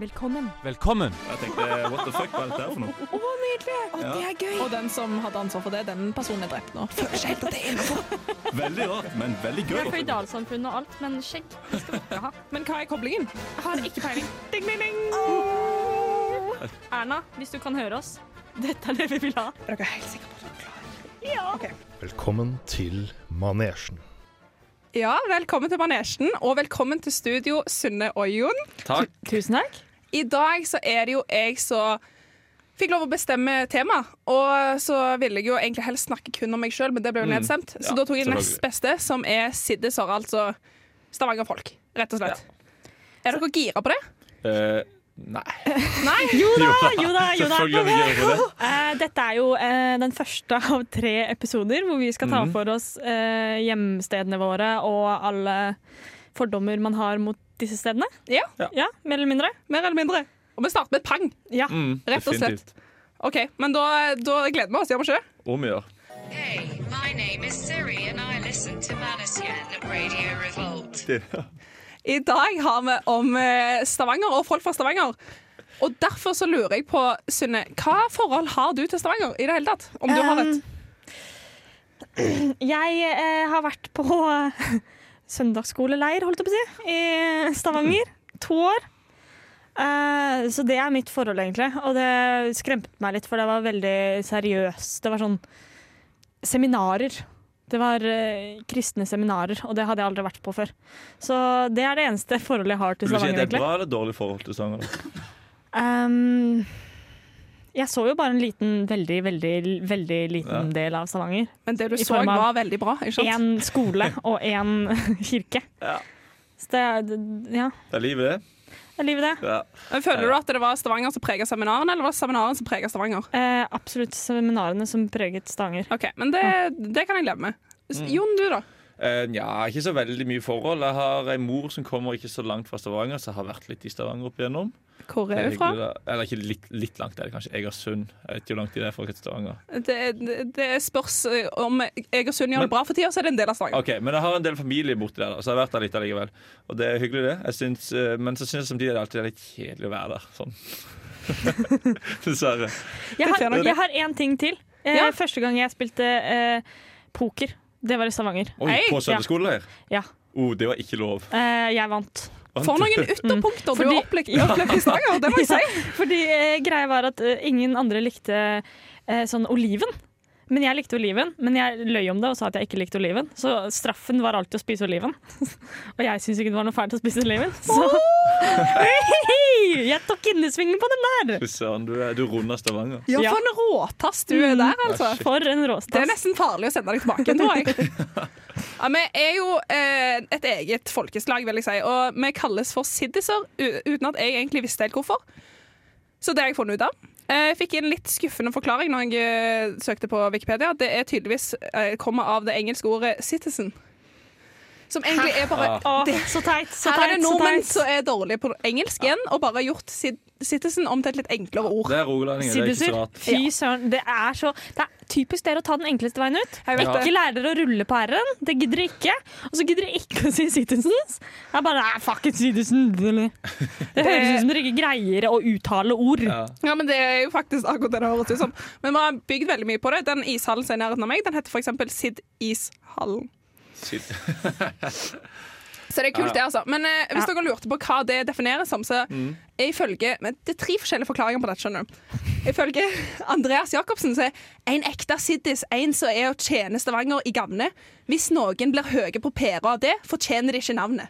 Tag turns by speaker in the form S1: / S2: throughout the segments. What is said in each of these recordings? S1: Velkommen.
S2: Velkommen!
S3: Jeg tenkte what the fuck, hva er dette her for noe?
S1: Å, nydelig! Å,
S3: Ja.
S1: Det er gøy.
S4: Og den som hadde ansvar for det, den personen er drept nå.
S1: Føler seg helt at det er innenfor.
S3: Veldig rart, men veldig gøy.
S5: Det er føydalsamfunn og alt, men skjegg det skal dere ha.
S4: Men hva er koblingen?
S5: Har ikke peiling. Ding, ding, ding. Erna, hvis du kan høre oss, dette er det vi vil ha.
S1: Dere er helt sikre på at dere klarer det.
S6: Velkommen til manesjen.
S4: Ja, velkommen til Manesjen, og velkommen til studio, Sunne og Jon.
S7: Takk.
S1: Tusen takk.
S4: I dag så er det jo jeg som fikk lov å bestemme tema, og så ville jeg jo egentlig helst snakke kun om meg sjøl, men det ble jo nedstemt. Så
S7: Ja,
S4: da tok jeg det nest
S7: selvfølgelig.
S4: beste, som er siddisår, altså Stavanger-folk, rett og slett. Er dere gira på det?
S7: Eh, nei.
S4: Nei?
S1: Jo da, jo da, jo da.
S7: Selvfølgelig gjør vi det.
S1: Eh, Dette er jo eh, den første av tre episoder hvor vi skal ta for oss eh, hjemstedene våre og alle fordommer man har mot disse stedene.
S4: Ja.
S1: Ja, Mer eller mindre.
S4: Mer eller mindre. Og vi starter med pang,
S1: Ja.
S7: Mm,
S4: rett og slett.
S7: definitivt.
S4: OK, men da, da gleder vi oss, gjør vi ikke? det?
S7: Om vi gjør.
S8: Hey, my name is Siri and I listen to Manasian Radio Revolt.
S4: I dag har vi om eh, Stavanger og folk fra Stavanger. Og derfor så lurer jeg på, Synne, hva forhold har du til Stavanger i det hele tatt? Om du har et?
S1: Jeg eh, har vært på eh, søndagsskoleleir, holdt jeg på å si, i Stavanger. To år. Eh, så det er mitt forhold, egentlig. Og det skremte meg litt, for det var veldig seriøst. Det var sånn seminarer. Det var eh, kristne seminarer, og det hadde jeg aldri vært på før. Så det er det eneste forholdet jeg har til
S3: Vil du si
S1: Stavanger,
S3: at det er
S1: egentlig.
S3: bra eller dårlig forhold til sanger?
S1: Ehm, jeg så jo bare en liten, veldig, veldig, veldig liten
S3: Ja.
S1: del av Stavanger.
S4: Men det du
S1: I
S4: så,
S1: form av
S4: var veldig bra. ikke sant?
S1: én skole og én kirke.
S3: Ja.
S1: Så det er det- ja,
S3: Det er livet, det.
S1: det er livet, det.
S3: Ja.
S4: Men Føler du at det var Stavanger som preget seminarene, eller var det seminarene som preget Stavanger?
S1: Eh, absolutt seminarene som preget Stavanger.
S4: Ok, Men det, det kan jeg leve med. S- Jon, du, da?
S7: Eh, ja, ikke så veldig mye forhold. Jeg har ei mor som kommer ikke så langt fra Stavanger, så jeg har vært litt i Stavanger opp igjennom.
S4: Hvor
S7: Det
S4: er
S7: er
S4: du fra?
S7: hyggelig, da. Eller ikke litt, litt langt, er det kanskje. Egersund. Jeg vet ikke hvor langt det er fra Stavanger.
S4: Det, det, det spørs eh, om Egersund gjør det
S7: Men-
S4: bra for tida, så er det en del av Stavanger.
S7: Ok, Men jeg har en del familie borti der, da, så jeg har vært der litt allikevel. Og det er hyggelig, det. Jeg syns, eh, men så syns jeg samtidig det alltid er litt kjedelig å være der. Sånn. Dessverre.
S1: Jeg har,
S4: nok det.
S1: jeg har én ting til. Eh,
S4: Ja.
S1: Første gang jeg spilte eh, poker, det var i Stavanger.
S7: Oi,
S4: Hei.
S7: på søndagsskolelærer?
S1: Ja.
S7: Oh, det var ikke lov.
S1: Eh, jeg vant.
S4: For noen ytterpunkter du
S1: Fordi-
S4: har opplevd opplevd i Stavanger, det må jeg si.
S1: Fordi eh, greia var at eh, ingen andre likte eh, sånn oliven. Men jeg likte oliven, men jeg løy om det og sa at jeg ikke likte oliven. Så straffen var alltid å spise oliven. og jeg syns ikke det var noe fælt å spise oliven. Så jeg tok innesvingen på den der!
S7: Fy søren, du, er- du runder Stavanger.
S4: Ja,
S1: Ja. Mm.
S4: for en råtass du er der, altså.
S1: For en
S4: Det er
S1: råstass.
S4: nesten farlig å sende deg tilbake, tror jeg. Ja, vi er jo eh, et eget folkeslag, vil jeg si, og vi kalles for siddiser u- uten at jeg egentlig visste helt hvorfor. Så det har jeg funnet ut av. Eh, Jeg fikk en litt skuffende forklaring når jeg eh, søkte på Wikipedia. Det er tydeligvis eh, kommer av det engelske ordet 'citizen'. Som egentlig er bare
S1: Åh,
S4: det,
S1: så teit, så
S4: Her er det
S1: teit, så
S4: nordmenn
S1: teit.
S4: som er dårlige på engelsk igjen, og bare gjort cit- 'citizen' om til et litt enklere ord.
S7: Det er rogalendinger, det er ikke
S1: Siddiser.
S7: så rart.
S1: Fy søren. Det er så Det er typisk dere å ta den enkleste veien ut.
S4: Jeg vet
S1: Ikke
S4: det.
S1: lære dere å rulle på r-en. Det gidder dere ikke. Og så gidder dere ikke å si citizens. Det er bare nei, fuck it, citizens. eller. Det høres ut som dere ikke greier å uttale ord.
S7: Ja.
S4: Ja, men Det er jo faktisk akkurat det det høres ut som. Men vi har bygd veldig mye på det. Den ishallen som er i nærheten av meg, den heter for eksempel Sid Ishallen.
S7: Sitt.
S4: Så det er kult, det, altså. Men eh, hvis
S1: Ja.
S4: dere lurte på hva det defineres som, så
S7: Mm.
S4: er ifølge men Det er tre forskjellige forklaringer på dette, skjønner du. Ifølge Andreas Jacobsen så er en ekte siddis en som er å tjene Stavanger i gavne. Hvis noen blir høye på pæra av det, fortjener de ikke navnet.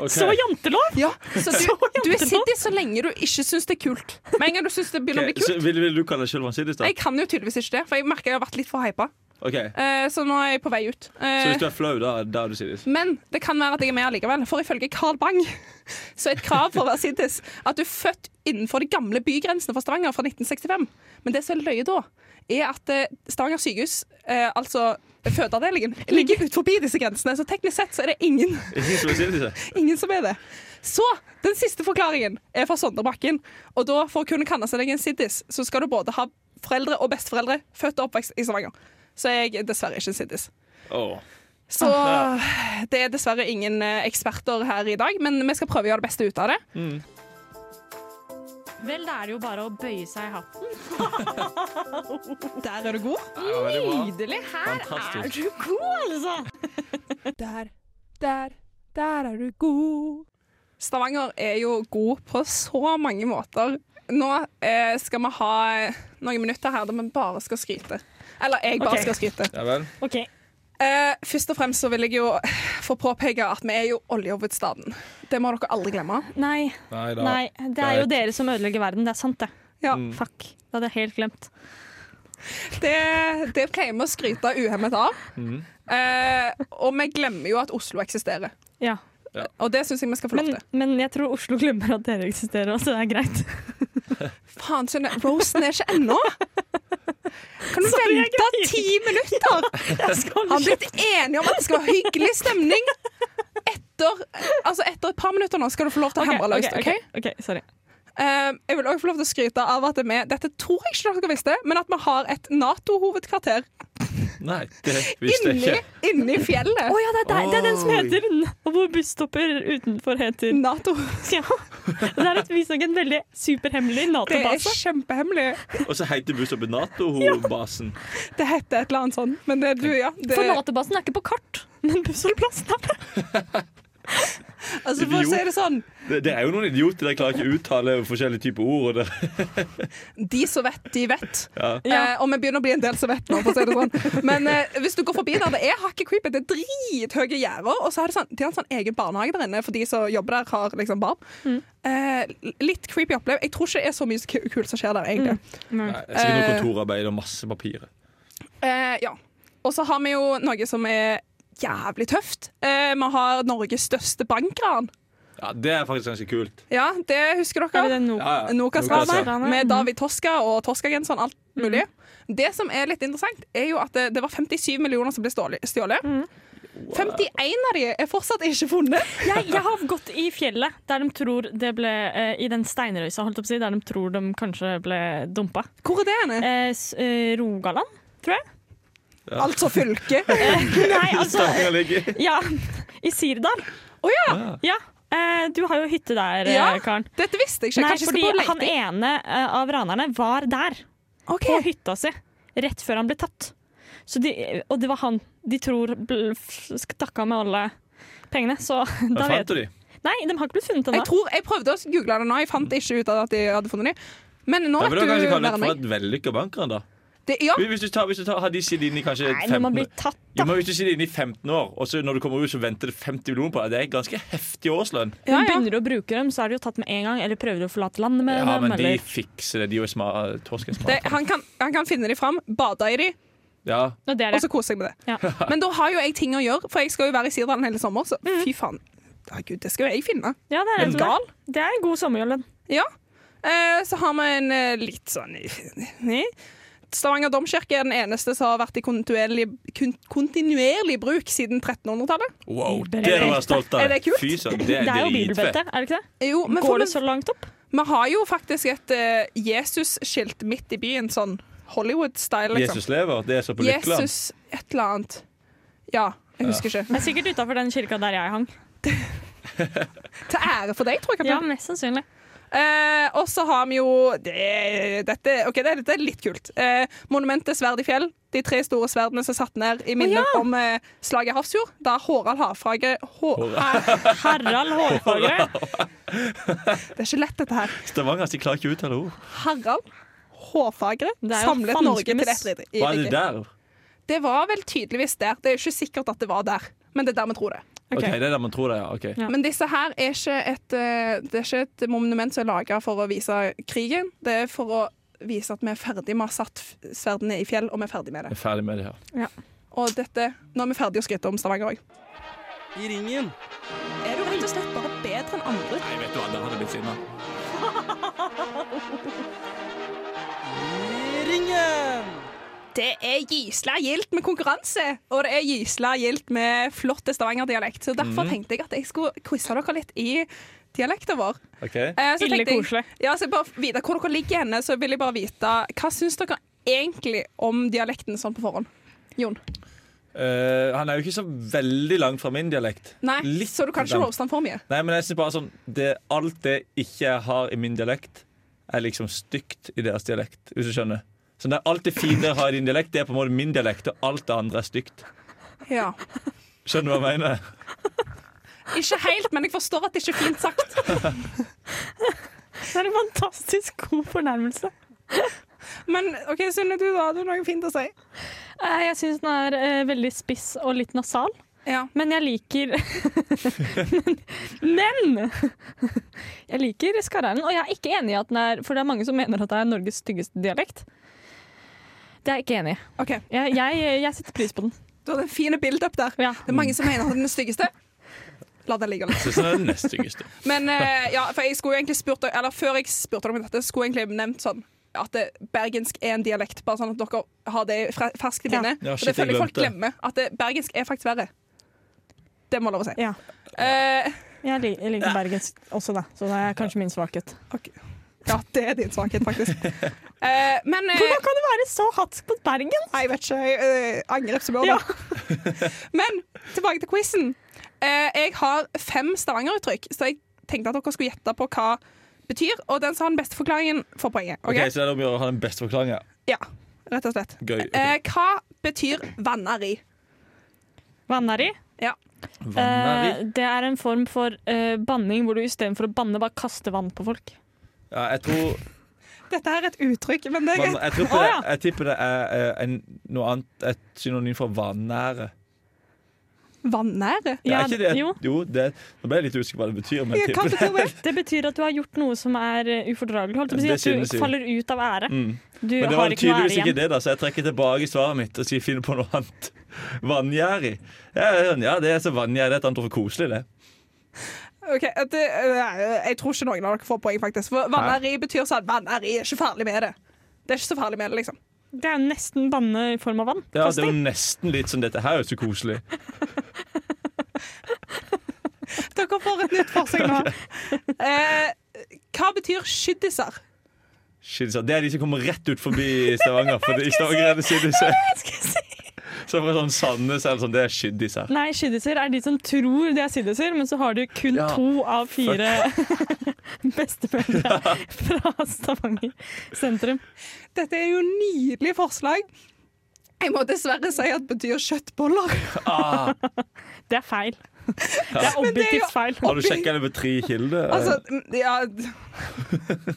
S7: Ok.
S1: Så jantelov!
S4: Ja, Så du, du er
S1: jævlig.
S4: siddis så lenge du ikke syns det er kult. Med en gang du syns det begynner å
S7: Ok,
S4: bli kult.
S7: så vil, vil du kalle deg selv vansidig? da?
S4: Jeg kan jo tydeligvis ikke det, for jeg merker jeg har vært litt for hypa.
S7: Ok,
S4: Eh, så nå er jeg på vei ut. Eh,
S7: Så hvis du er flau, da, da er du sidig?
S4: men det kan være at jeg er med allikevel, for ifølge Carl Bang så er et krav for å være siddis at du er født innenfor de gamle bygrensene for Stavanger fra 1965. Men det som er løye da, er at eh, Stavanger sykehus, eh, altså fødeavdelingen, ligger ut forbi disse grensene, så teknisk sett så er det ingen,
S7: Ingen som er sidig?
S4: ingen som er det. Så den siste forklaringen er fra Sondre Bakken, og da for å kunne kalle seg deg en siddis, så skal du både ha foreldre og besteforeldre født og oppvekst i Stavanger. Så jeg er dessverre ikke en siddis.
S7: Åh.
S4: Så det er dessverre ingen eh, eksperter her i dag, men vi skal prøve å gjøre det beste ut av det.
S5: Vel, da er det jo bare å bøye seg i hatten.
S4: Der er du god.
S7: Det var veldig bra.
S4: Nydelig. Her
S7: Fantastisk.
S1: Du er god, altså!
S4: Der, der, der er du god. Stavanger er jo god på så mange måter. Nå eh, skal vi ha noen minutter her der vi bare skal skryte. Eller jeg bare
S1: Ok.
S4: skal skryte.
S7: Ja vel.
S1: OK.
S4: Eh, først og fremst så vil jeg jo få påpeke at vi er jo oljehovedstaden. Det må dere aldri glemme.
S1: Nei,
S7: Nei da.
S1: nei. Det er jo dere som ødelegger verden. Det er sant, det.
S4: Ja.
S7: Mm.
S1: Fuck. Det hadde jeg helt glemt.
S4: Det, det pleier vi å skryte uhemmet av.
S1: Mm.
S4: Eh, og vi glemmer jo at Oslo eksisterer.
S1: Ja.
S4: Og det syns jeg vi skal få lov
S1: Men,
S4: til.
S1: men jeg tror Oslo glemmer at dere eksisterer, så det er greit.
S4: Faen, Synne, rosen er ikke ennå! Kan du
S1: Sorry, jeg
S4: vente
S1: griner.
S4: ti minutter?
S1: Jeg skal
S4: Han har blitt enige om at det skal være hyggelig stemning. Etter, altså etter et par minutter nå skal du få lov til å
S1: Ok,
S4: hamre løs.
S1: ok,
S4: ok?
S1: ok, ok, sorry.
S4: Eh, jeg vil også få lov til å skryte av at vi Dette tror jeg ikke dere visste, men at vi har et Nato-hovedkvarter
S7: Nei, det visste jeg
S4: inni,
S7: ikke.
S4: inni fjellet.
S1: Å ja, det er, deg, det er den som
S7: Oi.
S1: heter N- Og hvor busstopper utenfor heter
S4: Nato.
S1: Ja. Det er et- visstnok en veldig superhemmelig
S4: Det er
S1: Nato-base.
S4: kjempehemmelig.
S7: Og så heter busstoppet Nato-basen.
S4: Det heter et eller annet sånn, men det, du, ja, det,
S1: For Nato-basen er ikke på kart, men bussholdeplassen er det.
S4: altså, for å si det sånn
S7: Det, det er jo noen idioter der klarer ikke å uttale forskjellige typer ord. Og det,
S4: De som vet, de vet.
S7: Ja.
S1: Ja.
S4: Eh, og vi begynner å bli en del som vet nå, for å si det sånn. Men eh, hvis du går forbi der det er hakket creepy, det er drithøye gjerder, og så er det sånn, de har en sånn egen barnehage der inne, for de som jobber der, har liksom barn. Eh, litt creepy opplev. Jeg tror ikke det er så mye ku- kult som skjer der, egentlig.
S7: Nei, det er sikkert noe kontorarbeid og masse papirer.
S4: Eh, ja. Og så har vi jo noe som er jævlig tøft. Eh, vi har Norges største bankran.
S7: Ja, Det er faktisk ganske kult.
S4: Ja, det husker dere.
S1: Er det no
S7: Ja, ja.
S4: Nokas-ranet
S1: Nokas-ranet.
S4: med David
S1: Mm.
S4: Toska og Toska-genseren, alt mulig. Det som er litt interessant, er jo at det, det var 57 millioner som ble ståli- stjålet.
S1: Mm.
S4: 51 av de er fortsatt ikke funnet.
S1: jeg, jeg har gått i fjellet, der de tror det ble eh, I den steinrøysa, holdt jeg på å si, der de tror de kanskje ble dumpa.
S4: Hvor er det henne?
S1: Eh, s- eh, Rogaland, tror jeg.
S4: Altså fylket.
S1: Nei, altså
S7: Stavanger ligger-
S1: Ja, i Sirdal.
S4: Å ja!
S1: Ja. Eh, du har jo hytte der, eh,
S4: Ja.
S1: Karen.
S4: Dette visste jeg ikke.
S1: Nei,
S4: Kanskje jeg
S1: fordi
S4: skal på
S1: han
S4: leting.
S1: ene eh, av ranerne var der,
S4: Ok.
S1: på hytta si, rett før han ble tatt. Så de, og det var han de tror bl- f- stakk av med alle pengene, så da
S7: Da fant
S1: vet
S7: du de.
S1: Nei, de har ikke blitt funnet
S4: Jeg
S1: ennå.
S4: tror, jeg prøvde å google det nå, jeg fant ikke ut av at de hadde funnet dem. Men nå
S7: Da
S4: vet
S7: vil du
S4: du
S7: kanskje
S4: mer
S7: kalle det
S4: enn
S7: for
S4: meg.
S7: et vellykka bankran, da.
S4: Det, ja,
S7: Hvis du tar, hvis du tar, har de sittet inne i kanskje
S1: Nei, når
S7: 15
S1: man blir tatt,
S7: Jo,
S1: da.
S7: men Hvis du sitter inne i 15 år, og så når du kommer ut så venter det 50 millioner på deg, det er en ganske heftig årslønn.
S4: ja,
S1: Men
S4: ja.
S1: begynner du å bruke dem, så er du jo tatt med en gang, eller prøver du å forlate landet med
S7: Ja,
S1: dem.
S7: men de
S1: eller...
S7: fikser det. De er jo smarte. Torsken
S4: Det,
S7: smart.
S4: han, kan, han kan finne dem fram, bade i dem,
S7: Ja.
S1: Og det er
S4: og
S1: det.
S4: så kose seg med Altså, det.
S1: Ja. Mm.
S4: Men da har jo jeg ting å gjøre, for jeg skal jo være i Sirdalen hele sommer, så fy faen. Ja, Gud, det skal jo jeg finne.
S1: Ja, det, er
S4: En
S1: det,
S4: gal?
S1: det er en god sommerjollen.
S4: Ja. Eh, så har vi en eh, litt sånn Nei. Stavanger domkirke er den eneste som har vært i kontinuerlig, kun, kontinuerlig bruk siden 1300-tallet.
S7: Wow, det må du være stolt av.
S4: Er det kult?
S7: Fy søren, det
S1: Det
S7: er
S1: er jo
S7: dritfett.
S1: bibelbeltet, er det ikke det?
S4: Jo, men for,
S1: Går det
S4: vi,
S1: så langt opp?
S4: vi har jo faktisk et eh, Jesus-skilt midt i byen, sånn Hollywood-style, liksom.
S7: Jesus lever, det er så på Lykkeland.
S4: Jesus et eller annet. Ja, jeg husker ikke.
S1: Det er sikkert utafor den kirka der jeg hang.
S4: Til ære for deg, tror jeg. Kaplan.
S1: Ja, mest sannsynlig.
S4: Eh, og så har vi jo det, dette, ok, det, dette er litt kult. Eh, monumentet Sverd i fjell. De tre store sverdene som er satt ned i minne om eh, slaget i Hafrsfjord. Da Hårald Hardfagre Hå,
S1: Harald Hårfagre.
S4: Det er ikke lett, dette her.
S7: Stavanger de klarer ikke å uttale ord.
S4: Harald Hårfagre
S1: Det er jo
S4: samlet Norge til
S1: fanskenes-
S4: ett rike.
S7: Hva er det der?
S4: Det var vel tydeligvis der. Det er jo ikke sikkert at det var der, men det er der vi tror det.
S7: OK,
S1: Ok.
S7: det er der man tror det, ja. ok.
S1: Ja.
S4: Men disse her er ikke et, eh, det er ikke et monument som er laga for å vise krigen. Det er for å vise at vi er ferdig med å ha satt f- sverdene i fjell, og vi er ferdig med det.
S7: Jeg er ferdig med det her.
S4: Og dette, nå er vi ferdige å skryte om Stavanger òg.
S2: I ringen.
S4: Er du rett og slett bare bedre enn andre?
S7: Nei, vet du hva, der hadde jeg blitt sinna.
S2: I ringen.
S4: Det er gysla gildt med konkurranse, og det er gysla gildt med flott Stavanger-dialekt. Så derfor tenkte jeg at jeg skulle quize dere litt i dialekten vår.
S7: Ok,
S4: Eh, så
S1: Ille
S4: tenkte jeg-
S1: koselig.
S4: Ja, så jeg bare vite hvor dere ligger henne, så vil jeg bare vite hva syns dere egentlig om dialekten sånn på forhånd? Jon?
S7: Eh, Han er jo ikke så veldig langt fra min dialekt.
S4: Nei,
S7: Litt
S4: så du kan ikke
S7: langt.
S4: roaste han for mye.
S7: Nei, men jeg synes bare sånn det, Alt det ikke jeg har i min dialekt, er liksom stygt i deres dialekt, hvis du skjønner. Så det er alt det fine dere har i din dialekt, det er på en måte min dialekt, og alt det andre er stygt.
S4: Ja.
S7: Skjønner du hva jeg mener?
S4: Ikke helt, men jeg forstår at det ikke er fint sagt.
S1: Det er en fantastisk god fornærmelse.
S4: Men OK, Synne, du da hadde noe fint å si.
S1: Eh, Jeg syns den er eh, veldig spiss og litt nasal,
S4: Ja.
S1: men jeg liker Men! men! Jeg liker Skarre-Erlend, og jeg er ikke enig i at den er For det er mange som mener at det er Norges styggeste dialekt. Det er jeg ikke enig i.
S4: OK.
S1: Jeg, jeg, jeg setter pris på den.
S4: Du hadde en fin build-up der.
S1: Ja.
S4: Det er mange som mener at den er styggeste. La den ligge litt.
S7: Så sånn er det neste styggeste.
S4: Men eh, ja, for jeg skulle jo egentlig spurt deg- Eller før jeg spurte deg om dette, skulle jeg egentlig nevnt sånn at eh, bergensk er en dialekt, bare sånn at dere har det fra- ferskt i minne.
S7: Ja,
S4: For
S7: shit,
S4: det
S7: jeg
S4: føler jeg folk
S7: glemte.
S4: glemmer. At eh, bergensk er faktisk verre. Det må lov å si.
S1: Ja.
S4: Eh,
S1: Jeg lik- jeg liker Bergens også, da, så det er kanskje min svakhet.
S4: ja, det er din svakhet, faktisk. Eh, men eh,
S1: Hvordan kan du være så hatsk mot Bergen?
S4: Nei, Jeg vet ikke. Jeg øh, angrep som
S1: Ja.
S4: Men tilbake til quizen. Eh, jeg har fem Stavanger-uttrykk, så jeg tenkte at dere skulle gjette på hva betyr. Og den som har den beste forklaringen, får poenget.
S7: Ok,
S4: ok?
S7: Så det er om å gjøre å ha den beste forklaringen.
S4: Ja, rett og slett.
S7: Gøy. ok.
S4: Eh, hva betyr vannari?
S1: Vannari.
S4: Ja.
S7: Vannari.
S1: Eh, det er en form for eh, banning hvor du istedenfor å banne, bare kaster vann på folk.
S7: Ja, jeg tror
S4: Dette er et uttrykk, men det er
S7: Vann-
S4: greit.
S7: jeg, tipper
S1: Å,
S7: det,
S1: ja.
S7: jeg tipper det er eh, en, noe annet et synonym for vanære.
S4: Vannære?
S7: Det
S1: Ja,
S7: er ikke det?
S1: jo.
S7: Jo, det, nå ble jeg litt usikker på hva det betyr. Men
S4: Ja,
S7: jeg
S4: Hva
S7: tipper det.
S4: betyr det?
S1: Det betyr at du har gjort noe som er eh, ufordragelig. Holdt jeg på å
S7: Det
S1: si,
S7: synes
S1: at du
S7: jeg.
S1: faller ut av ære.
S7: Mm.
S1: Du
S7: Men det var
S1: har ikke noe
S7: tydeligvis
S1: ære
S7: ikke
S1: igjen.
S7: det, da, så jeg trekker tilbake svaret mitt og sier finn på noe annet. Vanngjerrig. Ja, ja, ja, det er så vanngjerrig at han tror det er koselig, det.
S4: Ok, at det øh, jeg tror ikke noen av dere får poeng, faktisk. For vannæri betyr sånn Vannæri er ikke farlig med det. Det er ikke så farlig med det, liksom.
S1: Det er jo nesten banne i form av vann.
S7: Ja, det er jo
S1: Kasting.
S7: nesten litt som dette her er jo så koselig.
S4: Dere får et nytt forsøk nå. Eh, hva betyr skyddiser?
S7: Shit, så Det er de som kommer rett ut forbi Stavanger. For det- i Stavanger er det skiddiser. Så fra sånn Sandnes eller sånn, det er skiddiser.
S1: Nei, skiddiser er de som tror de er siddiser, men så har du kun
S7: Ja,
S1: to av fire bestefødte fra Stavanger sentrum.
S4: Dette er jo nydelig forslag. Jeg må dessverre si at det betyr kjøttboller.
S7: Ah,
S1: Det er feil. Det er
S4: Men det er jo-
S1: objektivt feil.
S7: har du sjekka det med tre kilder?
S4: Altså, mm, ja d-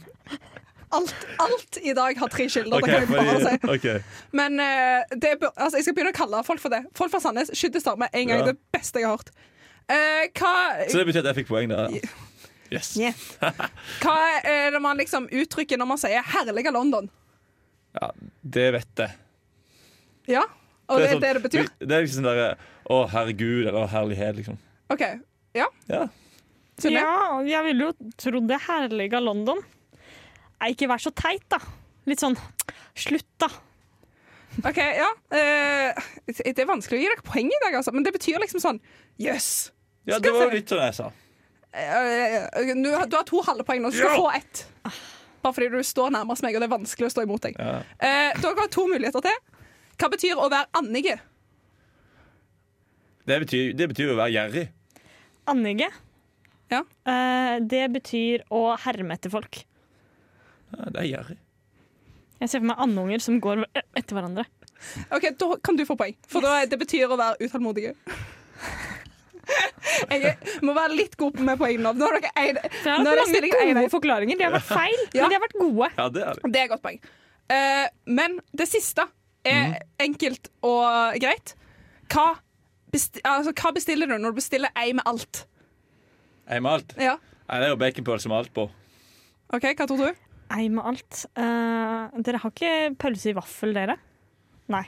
S4: alt, alt i dag har tre kilder,
S7: Ok,
S4: det kan jeg bare
S7: fordi-
S4: si.
S7: ok.
S4: Men eh, det, bør- altså, jeg skal begynne å kalle folk for det. Folk fra Sandnes skyddestar med en gang.
S7: Ja.
S4: Det beste jeg har hørt. Eh,
S7: Så
S4: hva,
S7: det betyr at jeg fikk poeng der? ja. Yes.
S4: Yeah. hva er det man liksom uttrykker når man sier 'herlige London'?
S7: Ja, det vet jeg.
S4: Ja, og det er
S7: sånn-
S4: det det betyr?
S7: Det er liksom der, Å, herregud, eller å, herlighet, liksom.
S4: OK. Ja.
S7: Ja.
S4: Synne?
S1: Ja, jeg ville jo trodd det herlige av London. Nei, ikke vær så teit, da. Litt sånn slutt, da.
S4: OK, ja. Eh, det er vanskelig å gi dere poeng i dag, altså. Men det betyr liksom sånn Jøss.
S7: ja,
S4: Skal
S7: det var
S4: vi
S7: jo
S4: se.
S7: litt sånn jeg sa.
S4: Eh, eh, du har- du har to halve poeng nå, så du
S7: Ja.
S4: skal få ett. Bare fordi du står nærmest meg, og det er vanskelig å stå imot deg.
S7: Ja.
S4: Eh, dere har to muligheter til. Hva betyr å være annige?
S7: Det betyr, det betyr jo å være gjerrig.
S1: Annige.
S4: Ja.
S1: Eh, det betyr å herme etter folk.
S7: Ja, det er gjerrig.
S1: Jeg ser for meg andunger som går e-, etter hverandre.
S4: OK, da kan du få poeng. For da er- det betyr å være utålmodige. Jeg er- må være litt god med poeng nå. Nå har dere en-
S1: For jeg har hatt
S4: Nå er det
S1: mange
S4: stilling
S1: gode
S4: én-én.
S1: forklaringer. De har vært feil,
S4: Ja.
S1: men de har vært gode.
S7: Ja, det er det.
S4: Det er et godt poeng. Eh, men det siste er enkelt og greit. Hva, besti altså, hva bestiller du når du bestiller ei med alt?
S7: Jeg med alt.
S4: Ja.
S7: Nei, det er jo baconpølse med alt på.
S4: OK, hva tror du?
S1: Ei med alt. Eh, dere har ikke pølse i vaffel, dere? Nei.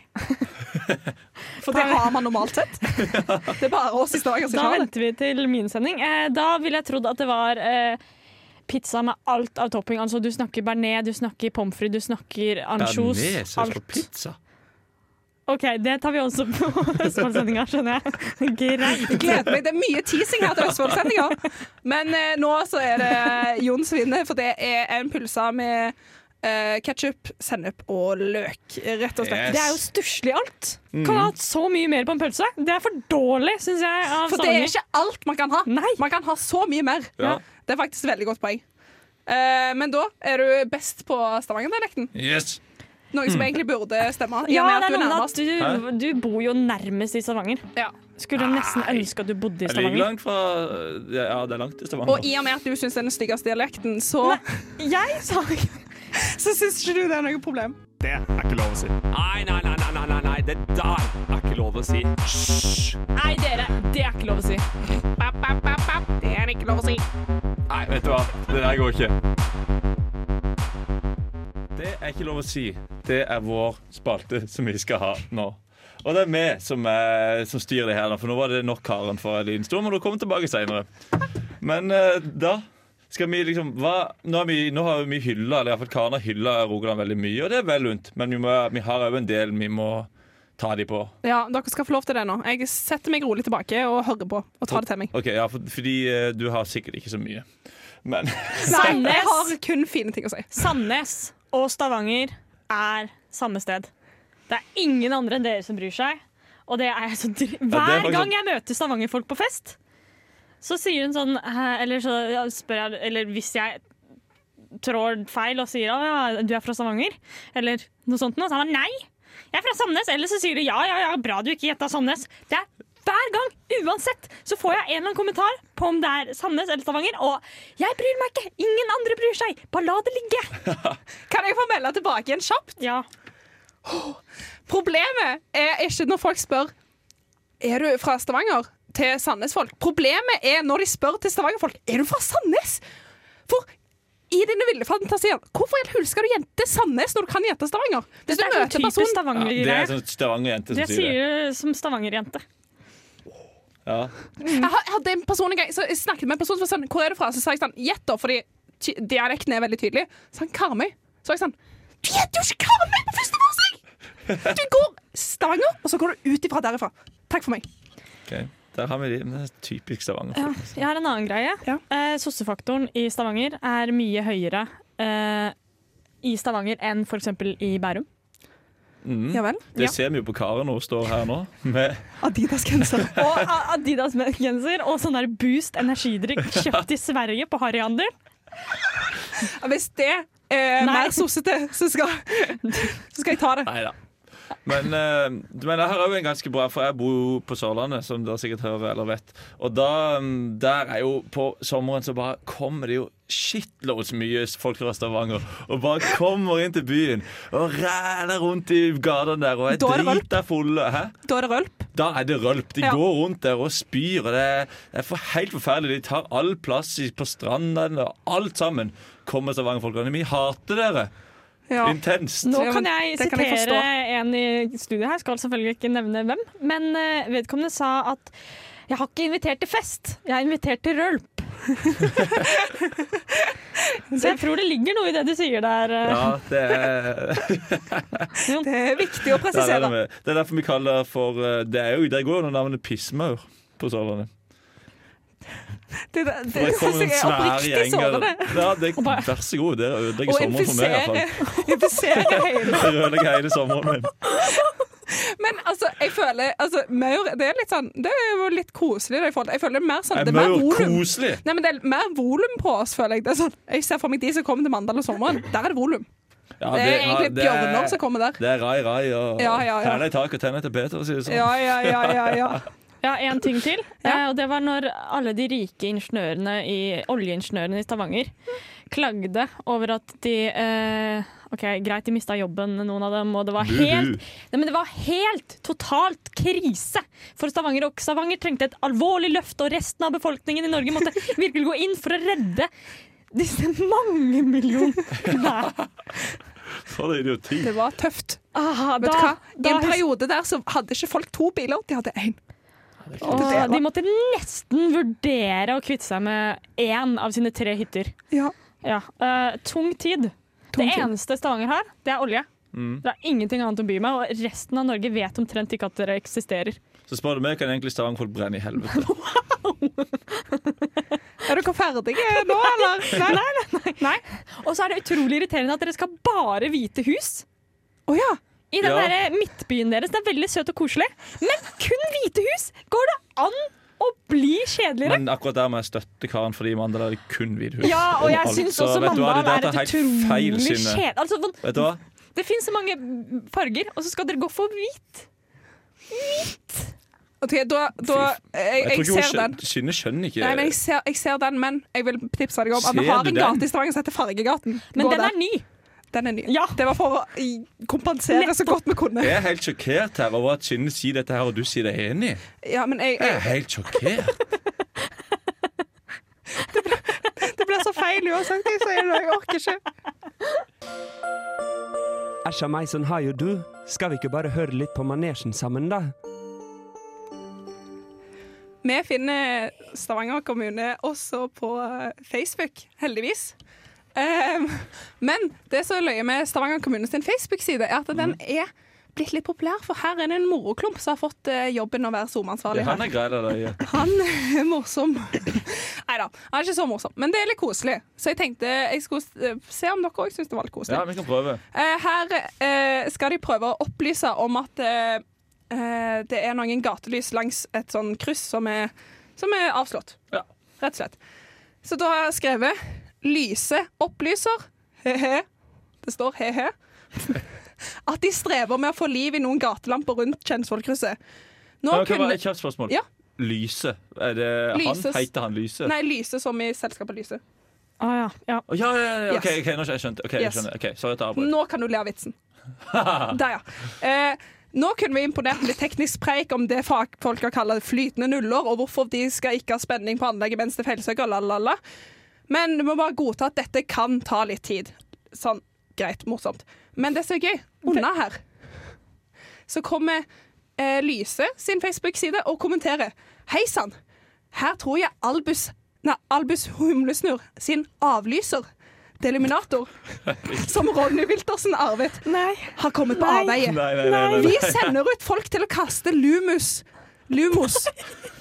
S4: For det har man normalt sett. Det er bare oss i Stavanger som
S1: Da
S4: ikke har det.
S1: venter vi til min sending. Eh, da ville jeg trodd at det var eh, pizza med alt av topping. Altså, du snakker bearnés, du snakker pommes frites, du snakker ansjos. Alt.
S7: pizza.
S1: OK, det tar vi også på Østfoldsendinga, skjønner jeg. Greit.
S4: Gleder meg. Det er mye teasing her til Østfold-sendinga. Men eh, nå så er det Jon Svinne, for det er en pølse med uh, ketsjup, sennep og løk, rett og slett.
S1: Det er jo stusslig alt. Kan ha hatt så mye mer på en pølse. Det er for dårlig, syns jeg. Av
S4: For det er
S1: Stavanger.
S4: ikke alt man kan ha.
S1: Nei.
S4: Man kan ha så mye mer.
S7: Ja.
S4: Det er faktisk et veldig godt poeng. Eh, men da er du best på Stavanger-dialekten.
S7: Yes!
S4: Noe som egentlig burde stemme. i og
S1: Ja,
S4: med
S1: det
S4: at
S1: er
S4: du
S1: noe med
S4: nærmest.
S1: at du, du bor jo nærmest i Stavanger.
S4: Ja.
S1: Skulle nesten ønske at du bodde i
S7: Jeg ligger
S1: Stavanger.
S7: langt fra Ja, det er langt til Stavanger.
S4: Og i og med at du syns det er den styggeste dialekten, så,
S1: Jeg sa ikke
S4: så syns ikke du det er noe problem.
S5: Nei, dere, det er ikke lov å si.
S4: Bap, bap, bap, bap. Det er ikke lov å si.
S7: Nei, vet du hva. Det der går ikke. Det er ikke lov å si. Det er vår spalte som vi skal ha nå. Og det er vi som, eh, som styrer det her, nå, for nå var det nok Karen for en liten stund. Men hun kommer tilbake seinere. Men eh, da skal vi liksom hva, nå, har vi, nå har vi hylla, eller iallfall Karen har hylla Rogaland veldig mye, og det er vel lunt. Men vi, må, vi har òg en del vi må ta de på.
S4: Ja, dere skal få lov til det nå. Jeg setter meg rolig tilbake og hører på. Og tar det til meg.
S7: Ok, ja, for, Fordi eh, du har sikkert ikke så mye. Men
S4: Nei,
S1: Sandnes.
S4: jeg har kun fine ting å si.
S1: Sandnes og Stavanger er samme sted. Det er ingen andre enn dere som bryr seg. Og det er jeg så dri Hver
S7: faktisk-
S1: gang jeg møter Stavanger-folk på fest, så sier hun sånn eh, Eller så ja, spør jeg Eller hvis jeg trår feil og sier at ja, du er fra Stavanger, eller noe sånt, noe, så er man nei. Jeg er fra Sandnes. Eller så sier de ja, ja, ja, bra du ikke gjetta Sandnes. Det er hver gang, uansett, så får jeg en eller annen kommentar på om det er Sandnes eller Stavanger, og jeg bryr meg ikke. Ingen andre bryr seg. Bare la det ligge.
S4: Kan jeg få melde tilbake igjen kjapt?
S1: Ja.
S4: Problemet er ikke når folk spør Er du fra Stavanger til Sandnes-folk. Problemet er når de spør til Stavanger-folk Er du fra Sandnes. For i dine ville fantasier, hvorfor i all hul skal du gjette Sandnes når du kan gjette Stavanger? Hvis du
S1: Det er sånn
S4: møter
S1: typisk
S4: personen
S7: det
S1: Stavanger-greie.
S7: er sånn Stavanger-jente
S1: det
S7: som sier det.
S1: sier du som Stavanger-jente.
S7: Ja.
S4: Jeg har- jeg hadde en person en gang Så jeg snakket med en person som var sånn Hvor er du fra? Så sa jeg sånn Gjett da, fordi ty- dialekten er veldig tydelig. Så han Karmøy. Så var jeg sånn Du gjetter jo ikke Karmøy på første forsøk! Du går Stavanger, og så går du ut ifra derifra. Takk for meg.
S7: Ok, Der har vi de. Men det er typisk Stavanger. Ja.
S1: Jeg har en annen greie.
S4: Ja.
S1: Eh, Sossefaktoren i Stavanger er mye høyere eh, i Stavanger enn f.eks. i Bærum.
S4: Ja vel.
S7: Det ser vi jo på Karen når hun står her nå. Med,
S4: Adidas-genser.
S1: Og A- Adidas-genser og sånn der Boost energidrikk kjøpt i Sverige på harryhandel.
S4: Hvis det er
S1: Nei.
S4: mer sossete, så skal, så skal jeg ta det.
S7: nei da. Men, eh, men jeg har òg en ganske bra, for jeg bor jo på Sørlandet, som dere sikkert hører eller vet. Og da, mm, der er jo på sommeren så bare kommer det jo shitloads mye folk fra Stavanger. Og bare kommer inn til byen og ræler rundt i gatene der og er
S4: Da er det
S7: drita fulle. Hæ?
S4: Da er det rølp.
S7: Da er det rølp. De
S4: Ja.
S7: går rundt der og spyr. Og det er, det er for helt forferdelig. De tar all plass i- på stranda og alt sammen. Kommer Stavanger-folkene. Vi hater dere
S4: Ja.
S7: intenst.
S1: Nå
S4: Ja,
S1: kan
S4: men
S1: jeg
S4: det kan jeg
S1: sitere en i studio her, skal selvfølgelig ikke nevne hvem. Men eh, vedkommende sa at jeg har ikke invitert til fest, jeg er invitert til rølp. Så jeg tror det ligger noe i det du sier der. eh,
S7: Ja, det er,
S1: Jon.
S4: Det er viktig å
S7: det, er det,
S4: presisere.
S7: med. det er derfor vi kaller det for eh, Det er jo, Der går jo under navnet pissmaur på Sørlandet.
S4: Det, det,
S7: For det
S4: det synes
S7: kommer en
S4: jeg er
S7: svær
S4: oppriktig
S7: gjeng der.
S4: sårende.
S7: Ja, det, vær så god, dere ødelegger
S4: Og
S7: sommeren for meg. i
S4: infisere,
S7: hvert fall.
S4: infisere hele
S7: Dere ødelegger hele sommeren min.
S4: Men altså, jeg føler altså, maur, Det er litt sånn Det er jo litt koselig. Det, i forhold til- jeg føler det er mer sånn
S7: Er
S4: Det er mer
S7: maur
S4: volum.
S7: koselig?
S4: Nei, men det er mer volum på oss, føler jeg. Det er sånn, jeg ser for meg de som kommer til Mandal om sommeren. Der er det volum.
S7: Ja,
S4: Det er
S7: ja,
S4: egentlig
S7: det er-
S4: bjørner som kommer der.
S7: Det er rai, rai og
S4: Ja, ja, ja.
S7: hæler i taket og tenner til Peter, sier det sånn.
S4: Ja, ja, ja, ja, ja.
S1: Ja, en ting til.
S4: Ja.
S1: Eh, og det var når alle de rike ingeniørene i, oljeingeniørene i Stavanger klagde over at de eh, Ok, greit, de mista jobben, noen av dem, og det var helt Nei, men det var helt totalt krise for Stavanger. Og Stavanger trengte et alvorlig løft, og resten av befolkningen i Norge måtte virkelig gå inn for å redde disse mange millionene.
S7: For det er idioti.
S4: Det var tøft.
S1: Ah,
S4: Vet du hva? I
S1: da
S4: en periode der så hadde ikke folk to biler, de hadde én.
S1: Åh, de måtte nesten vurdere å kvitte seg med én av sine tre hytter.
S4: Ja.
S1: Ja. eh, tung tid.
S4: Tung
S1: det
S4: tid.
S1: eneste Stavanger har, det er olje.
S7: Mm.
S1: Det er ingenting annet å by med, og resten av Norge vet omtrent ikke at dere eksisterer.
S7: Så spør du meg, kan egentlig Stavanger brenne i helvete?
S4: Er dere ferdige nå, eller? Nei.
S1: Nei. Og så er det utrolig irriterende at dere skal bare hvite hus.
S4: Å ja.
S1: I den eh,
S7: Ja.
S1: der midtbyen deres. Det er veldig søt og koselig. Men kun hvite hus! Går det an å bli kjedeligere.
S7: Men akkurat der må jeg støtte Karen, fordi mandag er det kun videoer.
S1: Ja, og jeg
S7: Alt.
S1: syns
S7: Så
S1: også
S7: Altså, vet du hva,
S1: mandag
S7: det
S1: er
S7: der
S1: et
S7: tar helt feil,
S1: utrolig
S7: Synne.
S1: kjedelig altså, sånn-
S7: Vet du hva?
S1: Det finnes så mange farger, og så skal dere gå for hvit.
S4: Ok, da, da eh, jeg,
S7: Jeg,
S4: jeg
S7: tror
S4: ser
S7: ikke
S4: den.
S7: hun skjø- Synne skjønner ikke
S4: Nei, men jeg ser, jeg ser den, men jeg vil tipse deg om at vi
S7: Ser
S4: har
S7: du
S4: en
S7: den?
S4: gate i Stavanger som heter Fargegaten.
S1: Men
S4: Gå
S1: den
S4: der.
S1: er ny.
S4: den er ny.
S1: Ja.
S4: Det var for å i- kompensere så godt vi kunne.
S7: Jeg er helt sjokkert her over at Synne sier dette her, og du sier deg enig.
S4: Ja, men jeg,
S7: Jeg er
S4: jeg,
S7: helt sjokkert.
S4: det blir så feil uansett. Jeg sier det, jeg orker ikke.
S9: Æsja meisen, hei og sånn du. Skal vi ikke bare høre litt på manesjen sammen, da?
S4: Vi finner Stavanger kommune også på eh, Facebook, heldigvis. Ehm, men det som er løye med Stavanger kommune sin Facebook-side, er at den er blitt litt populær, for her er det en moroklump som har fått eh, jobben å være SoMe-ansvarlig.
S7: Han er grei der, da.
S4: Han er morsom. Nei da, han er ikke så morsom, men det er litt koselig. Så jeg tenkte jeg skulle eh, se om dere òg syns det var litt koselig.
S7: Ja, vi kan prøve.
S4: Eh, Her eh, skal de prøve å opplyse om at eh, eh, det er noen gatelys langs et sånn kryss som er, som er avslått.
S7: Ja.
S4: Rett og slett. Så da har jeg skrevet 'Lyse opplyser'. He-he. Det står he-he. At de strever med å få liv i noen gatelamper rundt Kjensvollkrysset. Nå
S7: Ja, kan
S4: kunne
S7: være et kjapt spørsmål.
S4: Ja.
S7: Lyse. Er det han?
S4: Lyses.
S7: Heter han Lyse?
S4: Nei, Lyse som i selskapet Lyse.
S1: Å ja. ja.
S7: Å, Ah, Ja, ja, ja. OK,
S4: Yes.
S7: ok, nå skjønner jeg. skjønte. Ok, jeg
S4: Yes.
S7: skjønner. Ok, sorry at jeg avbrøt.
S4: Nå kan du le av vitsen. Der, ja. Eh, nå kunne vi imponert med litt teknisk preik om det fagfolk har kalt flytende nuller, og hvorfor de skal ikke ha spenning på anlegget mens det feilsøker, la-la-la. Men du må bare godta at dette kan ta litt tid. Sånn, greit, morsomt. Men det som er gøy, under her så kommer eh, Lyse sin Facebook-side og kommenterer. Hei sann, her tror jeg Albus Nei, Albus Humlesnurr sin avlyser, deliminator, som Ronny Wiltersen arvet,
S1: Nei.
S4: har kommet på
S1: Nei.
S4: avveie.
S7: Nei, nei, nei. nei,
S4: Vi
S7: nei.
S4: sender ut folk til å kaste lumus Lumos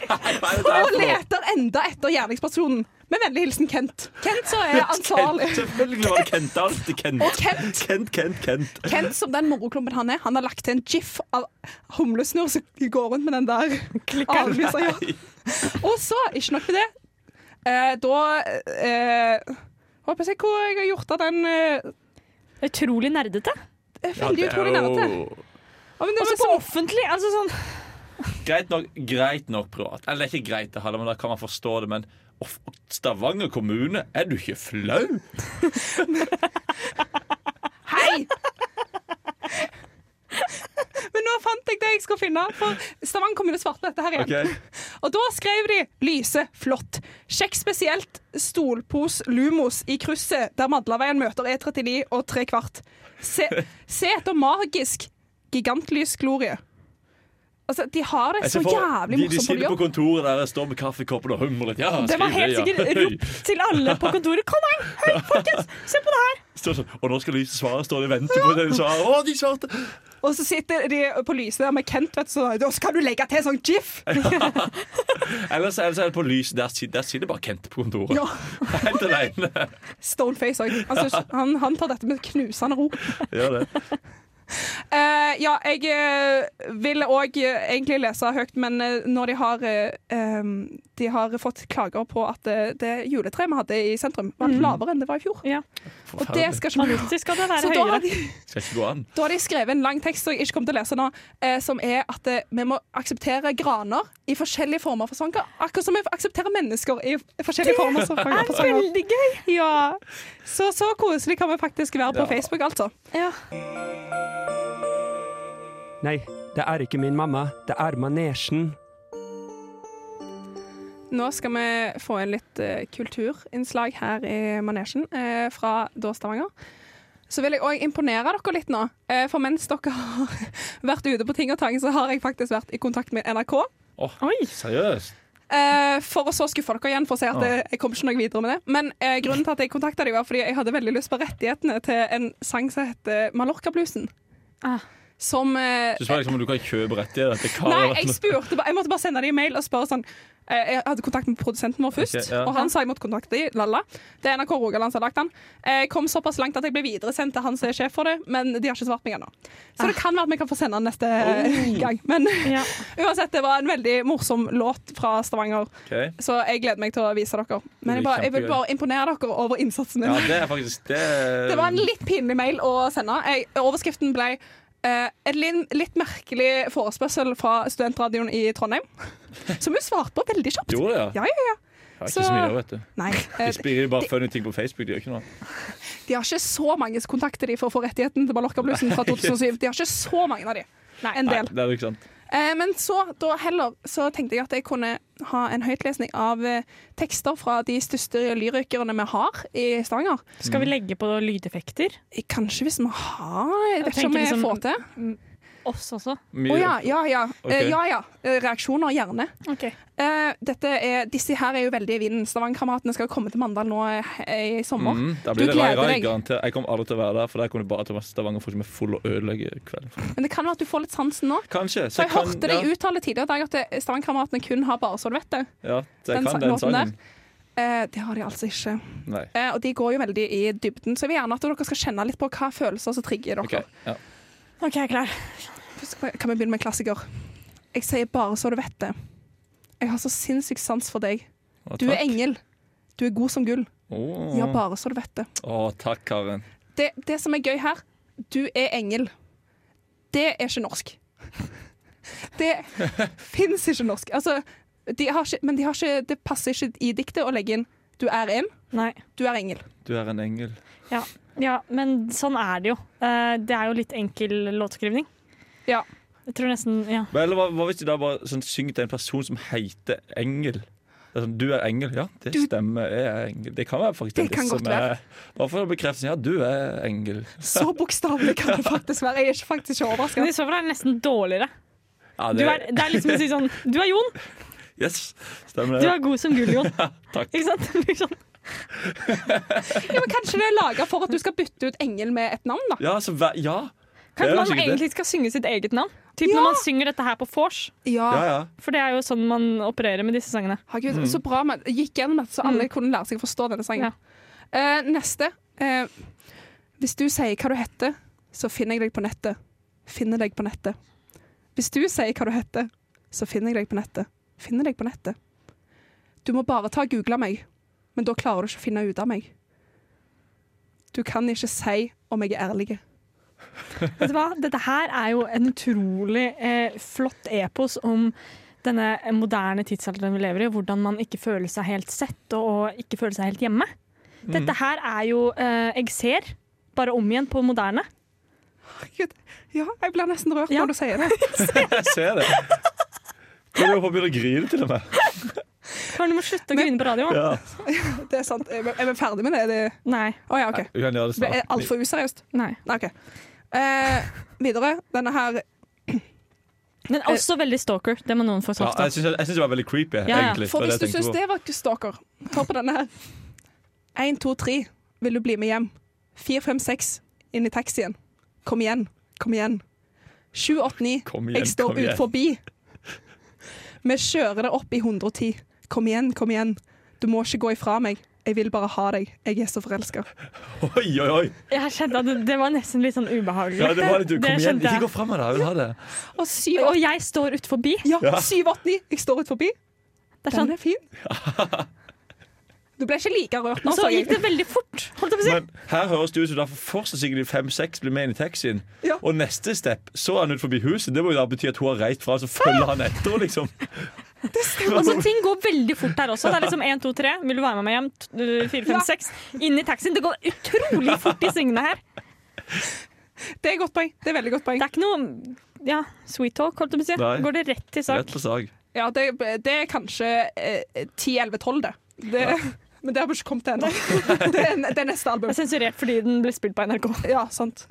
S7: Hva er dette her
S4: og
S7: for noe?
S4: leter enda etter gjerningspersonen. Med vennlig hilsen Kent. Kent som er ansvarlig.
S7: Kent, selvfølgelig var det Kent. Det er alltid Kent.
S4: Og Kent,
S7: Kent, Kent, Kent.
S4: Kent som den moroklumpen han er, han har lagt til en gif av humlesnurr som går rundt med den der avlyser. Ja. Og så, ikke nok med det, eh, da eh, Håper jeg hvor jeg har gjort av den eh,
S1: Utrolig nerdete.
S4: veldig utrolig nærmete. Ja, men det
S1: Også
S4: var
S1: på
S4: sånn-
S1: offentlig. Altså sånn
S7: Greit nok, greit nok privat. Eller det er ikke greit, det heller, men da kan man forstå det. Men off, Stavanger kommune, er du ikke flau?
S4: Hei! Men nå fant jeg det jeg skulle finne, for Stavanger kommune svarte dette her igjen. Og da skrev de 'Lyse, flott'. Sjekk spesielt stolpos Lumos i krysset der Madlaveien møter E39 og tre kvart. Se, se etter magisk gigantlysglorie. Altså, de har det
S7: Jeg
S4: så
S7: ser for- de,
S4: jævlig
S7: de
S4: morsomt på
S7: sitter
S4: jobb.
S7: på kontoret der, står med kaffekoppen og humrer litt. Ja,
S1: Det var
S7: skriv
S1: helt
S7: ja.
S1: sikkert
S7: Høy.
S1: rop til alle på kontoret. Kom her! Hei, folkens! Se på det her!
S7: Står sånn, og nå skal lyset svare, står de og venter på det de svarer. Å, de svarte!
S4: Og så sitter de på lyset der med Kent, vet du, så da skal du legge til sånn gif!
S7: Ellers, ellers er det på lyset. Der, sit- der sitter bare Kent på kontoret.
S4: Ja,
S7: Helt aleine.
S4: Stoneface òg. Altså, han, han tar dette med knusende ro.
S7: Gjør det.
S4: Eh, ja, jeg eh, ville òg egentlig lese høyt, men eh, når de har eh, em, De har fått klager på at eh, det juletreet vi hadde i sentrum, var lavere enn det var i fjor.
S1: Mm. Ja.
S4: Og det skal ikke vi
S1: Så skal det være
S4: Så da har,
S1: høyere.
S4: de,
S7: Skal ikke gå an.
S4: da har de skrevet en lang tekst som jeg ikke kommer til å lese nå, eh, som er at eh, vi må akseptere graner i forskjellige former for sanger. Akkurat som vi aksepterer mennesker i forskjellige former for sanger. for sanger.
S1: Veldig gøy.
S4: Ja. Så, så koselig kan vi faktisk være på
S7: Ja.
S4: Facebook, altså.
S1: Ja.
S9: Nei, det er ikke min mamma, det er manesjen.
S4: Nå skal vi få inn litt eh, kulturinnslag her i manesjen eh, fra da Stavanger. Så vil jeg òg imponere dere litt nå. Eh, for mens dere har vært ute på ting og tang, så har jeg faktisk vært i kontakt med NRK.
S1: Oi.
S7: Seriøst.
S4: Eh, for å så skuffe dere igjen for å si at eh, jeg kom ikke noe videre med det. Men eh, grunnen til at jeg kontakta dem, var fordi jeg hadde veldig lyst på rettighetene til en sang som heter Mallorca-bluesen.
S1: Ah.
S4: som eh,
S7: Du spør liksom om du kan kjøpe rettigheter til hva
S4: Nei, jeg spurte bare, jeg måtte bare sende dem en mail og spørre sånn eh, Jeg hadde kontakt med produsenten vår først,
S7: Ok, ja.
S4: og han sa jeg måtte kontakte dem. Lalla. Det er NRK Rogaland som har lagt den. Jeg kom såpass langt at jeg ble videresendt til han som er sjef for det, men de har ikke svart meg ennå. Så det kan være at vi kan få sende den neste
S7: Oh.
S4: eh, gang. Men
S1: Ja.
S4: uansett, det var en veldig morsom låt fra Stavanger,
S7: Ok.
S4: så jeg gleder meg til å vise dere.
S7: Det
S4: Men jeg,
S7: blir
S4: bare, jeg vil
S7: kjempegøy.
S4: bare imponere dere over innsatsen min.
S7: Ja, det er faktisk det,
S4: Det var en litt pinlig mail å sende. Jeg, overskriften ble eh, en lin- litt merkelig forespørsel fra studentradioen i Trondheim, som hun svarte på veldig kjapt.
S7: Gjorde det, ja?
S4: Ja, ja, ja.
S7: Jeg har ikke
S4: så-
S7: så mye, vet du.
S4: Nei, eh,
S7: De spiller bare funny ting på Facebook. De gjør ikke noe.
S4: de har ikke så mange som kontakter de for å få rettigheten til Ballokkerblussen fra 2007. De har ikke så mange av de. En
S7: Nei,
S4: del.
S7: det er jo ikke sant.
S4: Eh, men så, da heller, så tenkte jeg at jeg kunne ha en høytlesning av eh, tekster fra de største lyrikerne vi har i Stavanger. Eh,
S1: Skal vi legge på lydeffekter?
S4: Kanskje hvis vi har Jeg vet
S1: Jeg
S4: ikke om vi
S1: tenker liksom-
S4: får til.
S1: Oss også.
S7: Mye-
S4: Å ja, ja, ja. Eh,
S7: Ok.
S4: ja, ja. Eh, Reaksjoner, gjerne. Eh, dette er, disse her er jo veldig i vinden. Stavangerkameratene skal komme til Mandal nå eh, i sommer.
S7: Mm, der
S4: Du
S7: blir det rai,
S4: gleder
S7: rai,
S4: deg.
S7: garanter. Jeg kommer aldri til å være der, for der kommer det bare til å være Stavanger-folk som er full og ødelegger kvelden.
S4: Men det kan være at du får litt sansen nå.
S7: Kanskje.
S4: For jeg
S7: kan,
S4: hørte deg uttale tidligere i dag at eh, Stavangerkameratene kun har bare så du vet det.
S7: Ja, så
S4: den
S7: jeg
S4: sa-
S7: kan den
S4: låten
S7: sangen.
S4: Eh, det har de altså ikke.
S7: Nei.
S4: Eh, og de går jo veldig i dybden, så jeg vil gjerne at dere skal kjenne litt på hva følelser som trigger dere.
S7: Ok, ja.
S1: OK, jeg er klar.
S4: Først kan vi begynne med en klassiker. Jeg sier bare så du vet det. Jeg har så sinnssyk sans for deg.
S7: Å,
S4: Du er
S7: takk.
S4: engel. Du er god som gull.
S7: Å.
S4: Ja, bare så du vet det.
S7: Å, takk, Karen.
S4: det, det som er gøy her, du er engel. Det er ikke norsk. Det fins ikke norsk. Altså, de har ikke, men de har ikke, det passer ikke i diktet å legge inn 'du er en',
S1: Nei.
S4: 'du er engel'.
S7: Du er en engel.
S1: Ja, men sånn er det jo. Eh, Det er jo litt enkel låtskrivning.
S4: Ja.
S1: Jeg tror nesten Ja.
S7: Men, eller hva, hva hvis de da bare sånn, synger til en person som heter Engel? Det er sånn, du er engel. Ja, det
S4: Du-
S7: stemmer. Jeg er engel. Det kan være faktisk
S4: Det kan
S7: som
S4: godt være.
S7: er- Bare for å bekrefte Ja, du er engel.
S4: Så bokstavelig kan det faktisk være. Jeg er ikke faktisk ikke overraska.
S1: Men i så fall er det nesten dårligere.
S7: Ja,
S1: Du
S7: det,
S1: er, det er liksom å si sånn Du er Jon!
S7: Yes, stemmer
S1: Du
S7: det.
S1: er god som gull, Jon.
S7: Takk.
S1: Ikke sant? Det blir sånn.
S4: Ja, men kanskje det er laga for at du skal bytte ut engel med et navn, da.
S7: Ja, så hva- ja. Det
S1: Kanskje
S7: er jo
S1: man
S7: sikkert det.
S1: egentlig skal synge sitt eget navn? Typ
S4: Ja.
S1: Når man synger dette her på vors.
S7: ja, ja.
S1: For det er jo sånn man opererer med disse sangene.
S4: Herregud, så bra man gikk gjennom dette, så alle kunne lære seg å forstå denne
S1: Mm.
S4: sangen.
S1: Ja.
S4: Eh, neste. Eh, hvis du sier hva du heter, så finner jeg deg på nettet. Finner deg på nettet. Hvis du sier hva du heter, så finner jeg deg på nettet. Finner deg på nettet. Du må bare ta og google meg, men da klarer du ikke å finne ut av meg. Du kan ikke si om jeg er ærlig.
S1: Vet du hva? Dette her er jo en utrolig eh, flott epos om denne moderne tidsalderen vi lever i, hvordan man ikke føler seg helt sett og, og ikke føler seg helt hjemme.
S7: Mhm.
S1: Dette her er jo eh, Jeg ser, bare om igjen på moderne.
S4: Herregud. Ja, jeg blir nesten rørt
S1: Ja.
S4: når du sier det.
S7: Jeg ser det. Kan du begynne å grine til og med?
S1: Karen, du må slutte å grine på radio.
S7: Ja.
S4: Det er sant. Er vi- er vi ferdig med det? Er det...
S1: Nei.
S4: Å ja, OK.
S7: Du kan gjøre det
S4: Det er
S7: snart.
S4: altfor useriøst.
S1: nei.
S4: OK. Eh, videre. Denne her
S1: Men også veldig stalker. Det må noen få
S7: Ja,
S1: sagt. da.
S7: jeg syns jeg synes det var veldig creepy.
S1: ja.
S7: egentlig.
S4: For
S7: var
S4: hvis du
S7: jeg tenkte
S4: syns
S7: på.
S4: det var stalker, hør på denne her. 1, 2, 3, vil du bli med hjem? 4, 5, 6, inn i taxien. Kom igjen, kom igjen. 7, 8, 9,
S7: Kom igjen,
S4: jeg står
S7: kom
S4: ut
S7: igjen.
S4: forbi. Vi kjører det opp i 110. Kom igjen, kom igjen. Du må ikke gå ifra meg. Jeg vil bare ha deg. Jeg er så forelska.
S7: Oi, oi, oi!
S1: Jeg kjente at det, det var nesten litt sånn ubehagelig.
S7: Ja, det var litt, kom igjen,
S1: kjente
S7: ikke gå
S1: jeg.
S7: fra meg, da. Jeg vil ha det.
S4: Og 7,
S1: Og jeg står ut forbi.
S4: ja, 7, 8, 9, jeg står ut forbi.
S1: Det er sånn.
S4: Den er fin. Du ble ikke like rørt nå,
S1: Og så
S4: sa jeg.
S1: gikk det veldig fort. Holdt jeg på å si.
S7: Men her høres det ut som derfor først og sikkert de fem-seks blir med inn i taxien.
S4: Ja.
S7: Og neste step, så er han ut forbi huset. Det må jo da bety at hun har reist fra, så følger han etter henne, liksom.
S1: Altså, ting går veldig fort her også. Det er liksom 1, 2, 3, vil du være med meg hjem? øh, 4, 5, 6. Inn i taxien. Det går utrolig fort i svingene her.
S4: Det er et godt poeng. Det er et veldig godt poeng.
S1: Det er ikke noe ja, sweet talk, holdt jeg på å si.
S7: Nei.
S1: Går det rett til
S7: Rett
S1: sak.
S7: på sak.
S4: Ja, det, det er kanskje eh, 10-11-12, det. det Men det har vi ikke kommet til ennå. Det, er- det er neste
S1: Det
S4: album.
S1: er sensurert fordi den ble spilt på NRK.
S4: Ja, sant.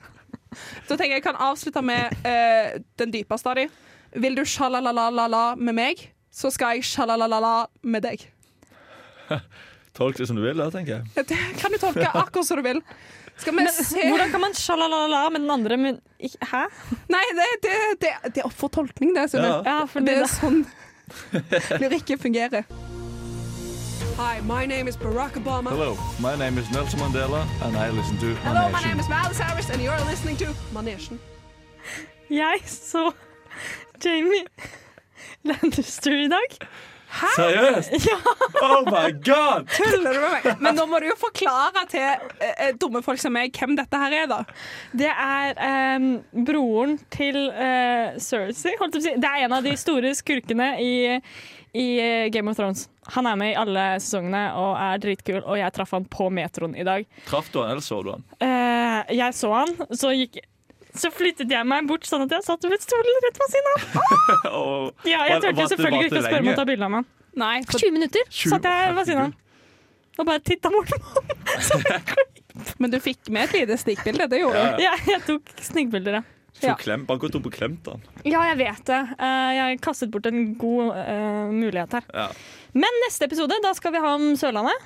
S4: Så tenker jeg jeg kan avslutte med eh, den dypeste av de. Vil du sjalalala med meg, så skal jeg sjalalala med deg.
S7: Tolk det som du vil, da, tenker jeg.
S4: Det kan du tolke akkurat som du vil. Skal vi se
S1: Hvordan kan man sjalalala med den andre, men ikke- Hæ?
S4: Nei, det, det, det, det er opp for tolkning, det. Sunnill.
S3: Ja.
S1: Ja, fordi
S4: det er
S1: det,
S4: sånn lyrikken fungerer. Hi, my name is Barack Obama.
S7: Hello, my name is Nelson Mandela, and I listen to
S4: Hello, my
S7: Manation.
S4: name is Miles Harris, and you're listening to Manesjen.
S1: jeg så Jamie Lannister i dag.
S7: Seriøst?
S1: Ja.
S7: Oh my god!
S4: Tuller du med meg? Men nå må du jo forklare til eh, eh, dumme folk som meg hvem dette her er, da.
S1: Det er em, broren til eh, Cersei, holdt jeg på å si. Det er en av de store skurkene i, i eh, Game of Thrones. Han er med i alle sesongene og er dritkul, og jeg traff han på metroen i dag.
S7: Traff du han, eller så du han?
S1: Eh, jeg så han, så gikk så flyttet jeg meg bort sånn at jeg satt ved stolen rett ved siden av.
S7: Og
S1: Ja, jeg
S7: Var-
S1: turte
S7: var
S1: jo
S7: det-
S1: selvfølgelig
S7: var
S1: ikke
S7: det
S1: å spørre om
S7: lenge?
S1: å ta bilde av han.
S4: Nei, for,
S1: 20 minutter satt jeg ved siden av han og bare titta bort på han.
S4: men du fikk med et lite stikkbilde. Det gjorde du.
S1: Ja, jeg tok snikbilder, ja.
S3: Så
S4: Ja.
S3: klem, bare gått opp og klemt han.
S1: Ja, jeg vet det. Eh, jeg kastet bort en god eh, mulighet her.
S3: Ja.
S1: Men neste episode, da skal vi ha om Sørlandet.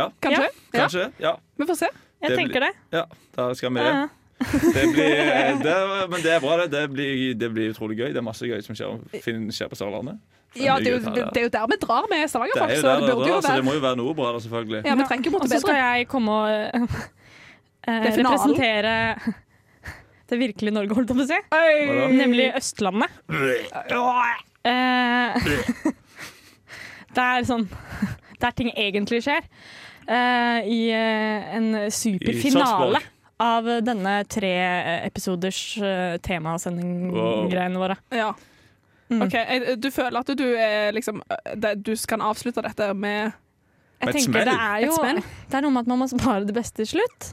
S4: Kanskje? Ja,
S7: Kanskje? Ja.
S4: Vi får se.
S1: Jeg
S7: Det blir-
S1: tenker det.
S7: ja. Da skal
S1: Ja,
S7: vi det.
S1: ja.
S7: det blir, det, men det er bra, det. Det blir, det blir utrolig gøy. Det er masse gøy som skjer, fin- skjer på Sørlandet.
S4: Ja, det er jo,
S7: Det
S4: det er jo der vi drar med
S7: Det
S4: Stavanger-folk,
S7: er jo
S4: så
S7: der
S4: det
S7: det er
S4: burde
S7: bra,
S4: jo
S7: så det
S4: være
S7: må jo være noe bra der, selvfølgelig.
S4: Ja, vi trenger ikke
S1: Og
S4: måtte
S1: så skal
S4: bedre.
S1: jeg komme og eh, eh,
S4: Det er finalen.
S1: representere det virkelige Norge, holdt jeg på å si.
S7: Hva da?
S1: Nemlig Østlandet. Eh, det er sånn Der ting egentlig skjer. eh, I eh, en superfinale
S7: Sarpsborg.
S1: av denne eh, treepisoders uh, temasending-greiene våre.
S4: Ja. OK, eh, du føler at du er liksom eh, det- Du kan avslutte dette med
S1: Jeg
S7: Et
S1: tenker
S7: smell.
S1: det er jo
S4: Et smell.
S1: Det er noe med at man må spare det beste til slutt.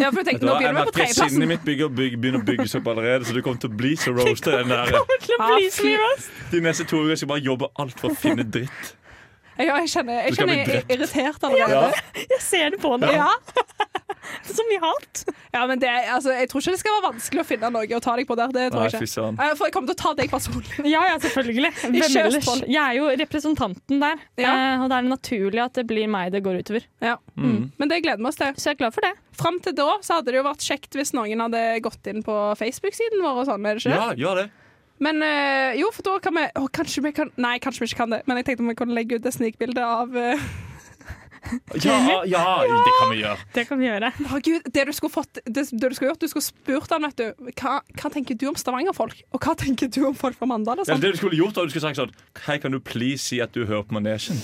S4: Ja, for jeg
S7: Vet
S4: tenkte,
S7: du
S4: nå
S7: hva, Jeg
S4: begynner vi på
S7: merker sinnet
S4: tredjeplassen.
S7: mitt bygger, bygger, begynner å bygges opp allerede, så du kommer til å bli så roasted. i Den der.
S4: Ah, fy-
S7: De neste to ukene skal jeg bare jobbe alt for å finne dritt.
S4: Ja, jeg kjenner jeg,
S7: Du skal
S4: kjenner
S7: bli
S4: jeg er irritert
S7: Ja.
S4: allerede.
S1: Jeg ser det på deg.
S4: Ja.
S1: Så mye hat.
S4: ja, men det, altså, jeg tror ikke det skal være vanskelig å finne noe å ta deg på der. Det tror
S7: Nei,
S4: jeg
S7: fy
S4: ikke.
S7: søren.
S4: Eh, For jeg kommer til å ta deg personlig.
S1: Ja, ja, selvfølgelig. Hvem
S4: Ikke
S1: ellers?
S4: Østfold.
S1: Jeg er jo representanten der,
S4: Ja.
S1: eh, og det er naturlig at det blir meg det går utover.
S4: Ja.
S7: Mm.
S4: Men det gleder vi oss til.
S1: Så jeg er glad for det.
S4: Fram til da så hadde det jo vært kjekt hvis noen hadde gått inn på Facebook-siden vår. og sånn, er det ikke? det?
S7: Ja, gjør det.
S4: Men eh, jo, for da kan vi å, Kanskje vi kan Nei, kanskje vi ikke kan det, men jeg tenkte om vi kunne legge ut et snikbilde av eh,
S7: Ja, ja, det kan vi gjøre.
S1: Det kan vi gjøre.
S4: Å, Gud, det du skulle fått det, det du skulle gjort, du skulle spurt han, vet du. Hva, hva tenker du om Stavanger-folk? Og hva tenker du om folk fra Mandal? og
S7: Ja,
S4: sånn?
S7: det du skulle gjort, var at du skulle sagt sånn Hei, kan du please si at du hører på Manesjen?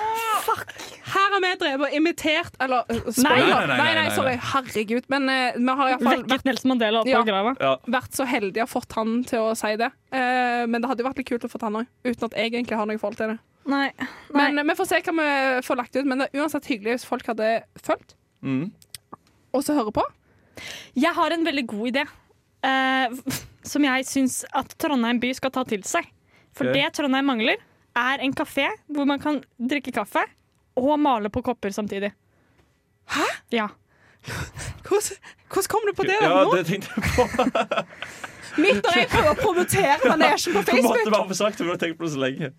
S4: Her har vi drevet og imitert Eller uh,
S7: Nei,
S4: spoiler.
S7: nei,
S4: Nei,
S7: nei,
S4: nei,
S7: nei, nei.
S4: sorry. Herregud. Men eh, vi har iallfall vært,
S1: Vekket Nelson Mandela opp
S4: Ja.
S1: av grava.
S7: Ja.
S4: vært så heldige og fått han til å si det. Eh, men det hadde jo vært litt kult å få han òg, uten at jeg egentlig har noe forhold til det.
S1: Nei.
S4: Men eh, vi får se hva vi får lagt ut. Men det er uansett hyggelig hvis folk hadde fulgt
S7: Mm.
S4: og så hører på.
S1: Jeg har en veldig god idé, eh, som jeg syns at Trondheim by skal ta til seg. For
S7: Ok.
S1: det Trondheim mangler, er en kafé hvor man kan drikke kaffe og male på kopper samtidig. Hæ? Ja.
S4: Hvordan, hvordan kom du på det da
S7: Ja,
S4: nå?
S7: det tenkte jeg på.
S4: Midt når jeg prøver å promotere manesjen på
S7: Jeg måtte
S4: Facebook.
S7: bare få sagt det, for jeg har tenkt på det så lenge.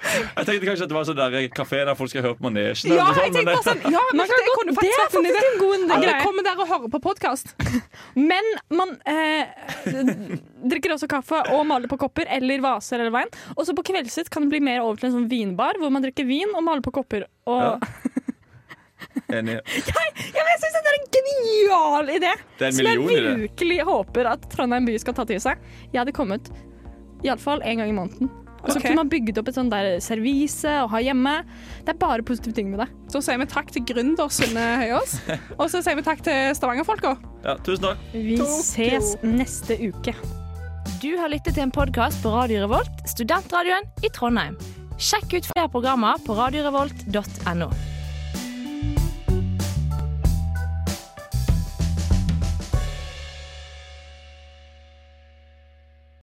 S7: Jeg tenkte kanskje at det var sånn der kafé der folk skal høre på manesjen.
S4: Ja,
S7: eller noe sånt,
S4: jeg
S7: men
S4: tenkte bare sånn Ja, men
S1: Man kan
S4: det
S1: godt-
S4: kunne
S1: det
S4: faktisk
S1: er
S4: vært en idé.
S1: faktisk en god idé.
S4: Alle
S1: greie.
S4: kommer der og hører på podkast.
S1: Men man eh, drikker også kaffe og maler på kopper eller vaser eller veien. Og så på kveldstid kan det bli mer over til en sånn vinbar hvor man drikker vin og maler på kopper. Og...
S7: Ja. Enig.
S1: Ja, men jeg syns det er en genial idé!
S7: Det er en
S1: Som jeg
S7: million i det.
S1: virkelig håper at Trondheim by skal ta til seg. Jeg hadde kommet iallfall én gang i måneden. Og så
S4: Ok.
S1: kunne man bygd opp et sånt der servise og ha hjemme. Det er bare positive ting med det.
S4: Så sier vi takk til gründer Sunne Høyås. Og så sier vi takk til Stavanger-folka.
S7: Ja, tusen takk.
S1: Vi ses neste uke.
S5: Du har lyttet til en podkast på Radio Revolt, studentradioen i Trondheim. Sjekk ut flere programmer på radiorevolt.no.